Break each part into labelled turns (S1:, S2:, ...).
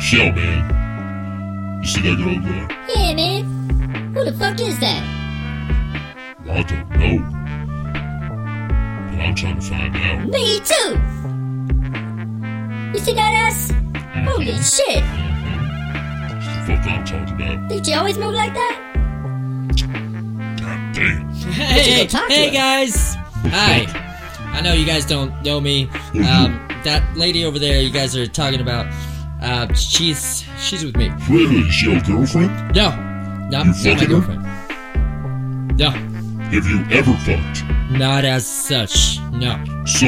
S1: Shell Man. You see that girl over there?
S2: Yeah, man. Who the fuck is that?
S1: I don't know. But I'm trying to find out.
S2: Me too. You see that ass?
S3: Oh,
S2: Holy shit!
S1: Mm-hmm. What the fuck I'm talking about?
S2: Did you always move like that?
S1: God damn.
S3: Hey,
S2: Let's go talk to
S3: hey
S2: her.
S3: guys! Hi. I know you guys don't know me. Um, that lady over there, you guys are talking about. Uh, she's she's with me.
S1: Really, is she your girlfriend?
S3: No, not, not my
S1: fucking her?
S3: girlfriend. No,
S1: Have you ever fucked?
S3: not as such. No.
S1: So,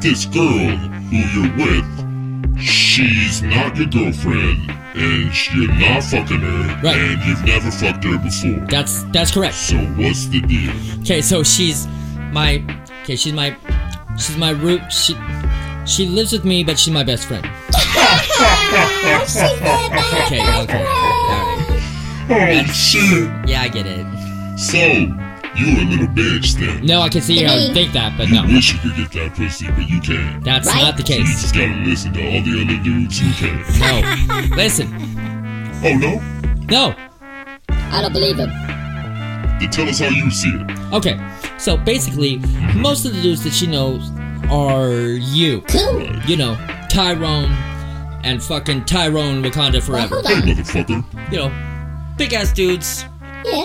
S1: this girl who you're with, she's not your girlfriend, and sh- you're not fucking her,
S3: Right.
S1: and you've never fucked her before.
S3: That's that's correct.
S1: So what's the deal?
S3: Okay, so she's my okay. She's my she's my root. She she lives with me, but she's my best friend.
S2: Oh, she's that bad.
S3: Okay, okay. all right.
S1: Oh shit!
S3: Yeah, I get it.
S1: So you a little bitch then?
S3: No, I can see how you think that, but
S1: You
S3: no,
S1: wish you could get that pussy, but you can't.
S3: that's
S2: Right?
S3: not the
S1: So you
S3: case.
S1: just gotta listen to all the other dudes who can.
S3: No, listen,
S1: Oh no?
S3: no.
S2: I don't believe him.
S1: Then tell us how you see it.
S3: Okay, so basically, most of the dudes that she knows are you.
S2: Cool.
S3: You know, Tyrone and fucking Tyrone Wakanda
S2: Well,
S3: forever.
S2: hold
S1: Hey,
S2: on.
S1: motherfucker.
S3: You know, big ass dudes,
S2: Yeah.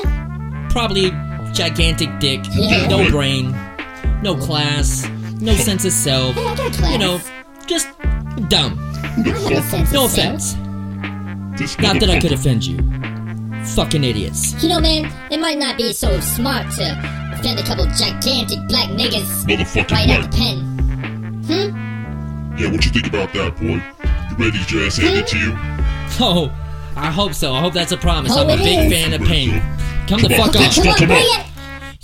S3: probably gigantic dick,
S2: Yeah.
S3: no brain, no class, no sense of self.
S2: Hey, I got class.
S3: You know, just dumb.
S1: Who
S2: I
S1: the
S2: have a
S1: fuck?
S2: sense of
S3: No
S2: self.
S3: offense.
S1: This
S3: Not that I could
S1: motherfucker.
S3: offend you. Fucking idiots.
S2: You know, man, it might not be so smart to offend a couple gigantic black niggas
S1: Motherfucking
S2: right out
S1: right.
S2: the pen. Hmm?
S1: Yeah, what you think about that, boy? You ready to get your ass handed to you?
S3: Oh, I hope so. I hope that's a promise.
S2: Oh,
S3: I'm a
S2: it is.
S3: big fan of pain. Come the
S1: Come on,
S3: fuck
S1: bitch.
S3: on.
S2: Come on,
S1: come
S2: bring
S1: on.
S2: it!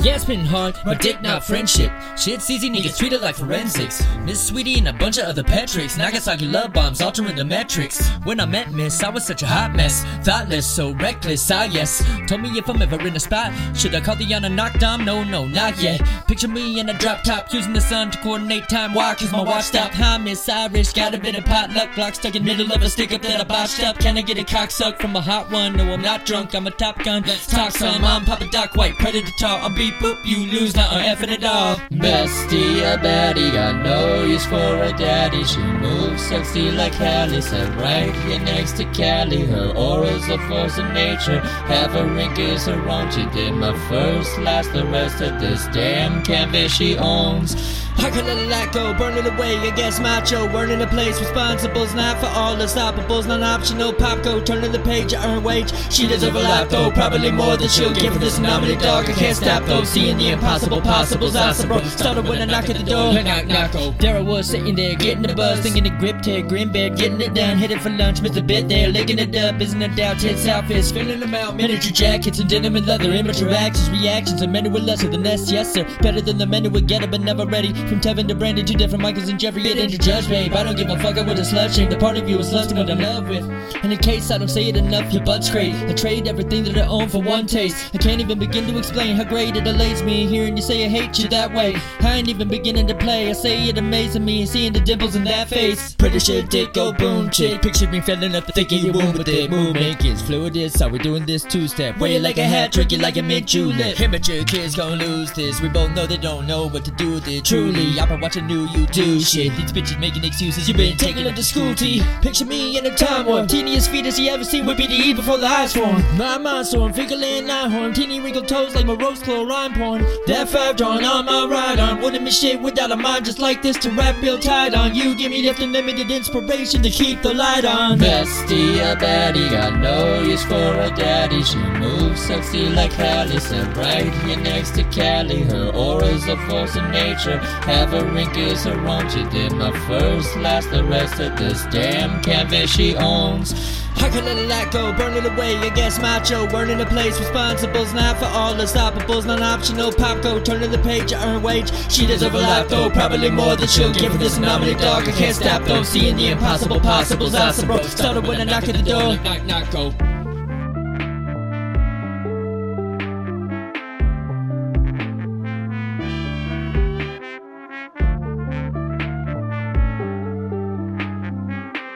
S3: Yeah, it's been hard, but dick not friendship. Shit's easy, niggas treat it like forensics. Miss Sweetie and a bunch of other Patricks. Nagasaki love bombs altering the metrics. When I met Miss, I was such a hot mess. Thoughtless, so reckless, ah yes. Told me if I'm ever in a spot, should I call the on a knock dom? No, no, not yet. Picture me in a drop top, using the sun to coordinate time. Why? Cause my watch stopped. Hi, Miss Irish, got a bit of potluck. Block stuck in middle of a stick up that I botched up. Can I get a cocksuck from a hot one? No, I'm not drunk, I'm a top gun. Let's talk some. I'm Papa Doc White, predator tall. I'm beat boop, you lose, not an effing at all. Bestie, a baddie, got no use for a daddy. She moves sexy like Hallie, sat right here next to Callie. Her aura's a force of nature. Half a rink is her own. She did my first, last, the rest of this damn canvas she owns. I could let it let go, burn it away against macho. Earning a place, responsible's not for all the stoppables, non optional. Pop go, turning the page, I earn wage. She deserves a lot though, probably more than she'll get for this nominee dog. I can't stop though, seeing the impossible possibles. I bro. Started when I knock at the door, knock, knock, oh. There I was sitting there, getting the buzz, thinking the grip to green bed, getting it done. Headed for lunch, missed a bit there, licking it up. Isn't a doubt, tits outfits, filling them out. Miniature jackets and denim and leather, immature actions, reactions, and many were lesser than this, yes sir. Better than the men who would get it, but never ready. From Tevin to Brandon, two different Michaels and Jeffrey. It ain't your judge, babe. I don't give a fuck I with a slut shame. The part of you is lusting what I'm loved with. And in case I don't say it enough, your butt's great. I trade everything that I own for one taste. I can't even begin to explain how great it elates me. Hearing you say I hate you that way. I ain't even beginning to play. I say it amazing me, seeing the dimples in that face. Pretty sure dick go boom, chick. Picture me filling up the thick of your womb with it. Movement is fluid is how we doing this two step. Way like a hat trick, you like a mint julep. Immature kids gonna lose this. We both know they don't know what to do with it. Truly, I've been watching new you do shit. These bitches making excuses. You've been taking them to school, T. Picture me in a time warp. Teeniest fetus you ever seen would be the E before the eyes form. My mind's sworn, fickle and eye horn. Teeny wrinkled toes like my rose chlorine porn. That five drawn on my right arm. Wouldn't be shit without a mind just like this to rap real tight on. You give me left unlimited inspiration to keep the light on. Bestie, a baddie, got no use for a daddy. She moves sexy like Hallie, sat right here next to Callie. Her aura's a force of nature. Have a rink is her own. She did my first, last, the rest of this damn canvas she owns. I can let it let go, burn it away against macho, burning a place, responsibles not for all the stoppables, non-optional pop go, turning the page, I earn wage. She deserve a lot though, probably more than she'll give for this anomaly dog. I can't stop though, seeing the impossible possibles, I suppose. Started when I knock at the door, knock knock go.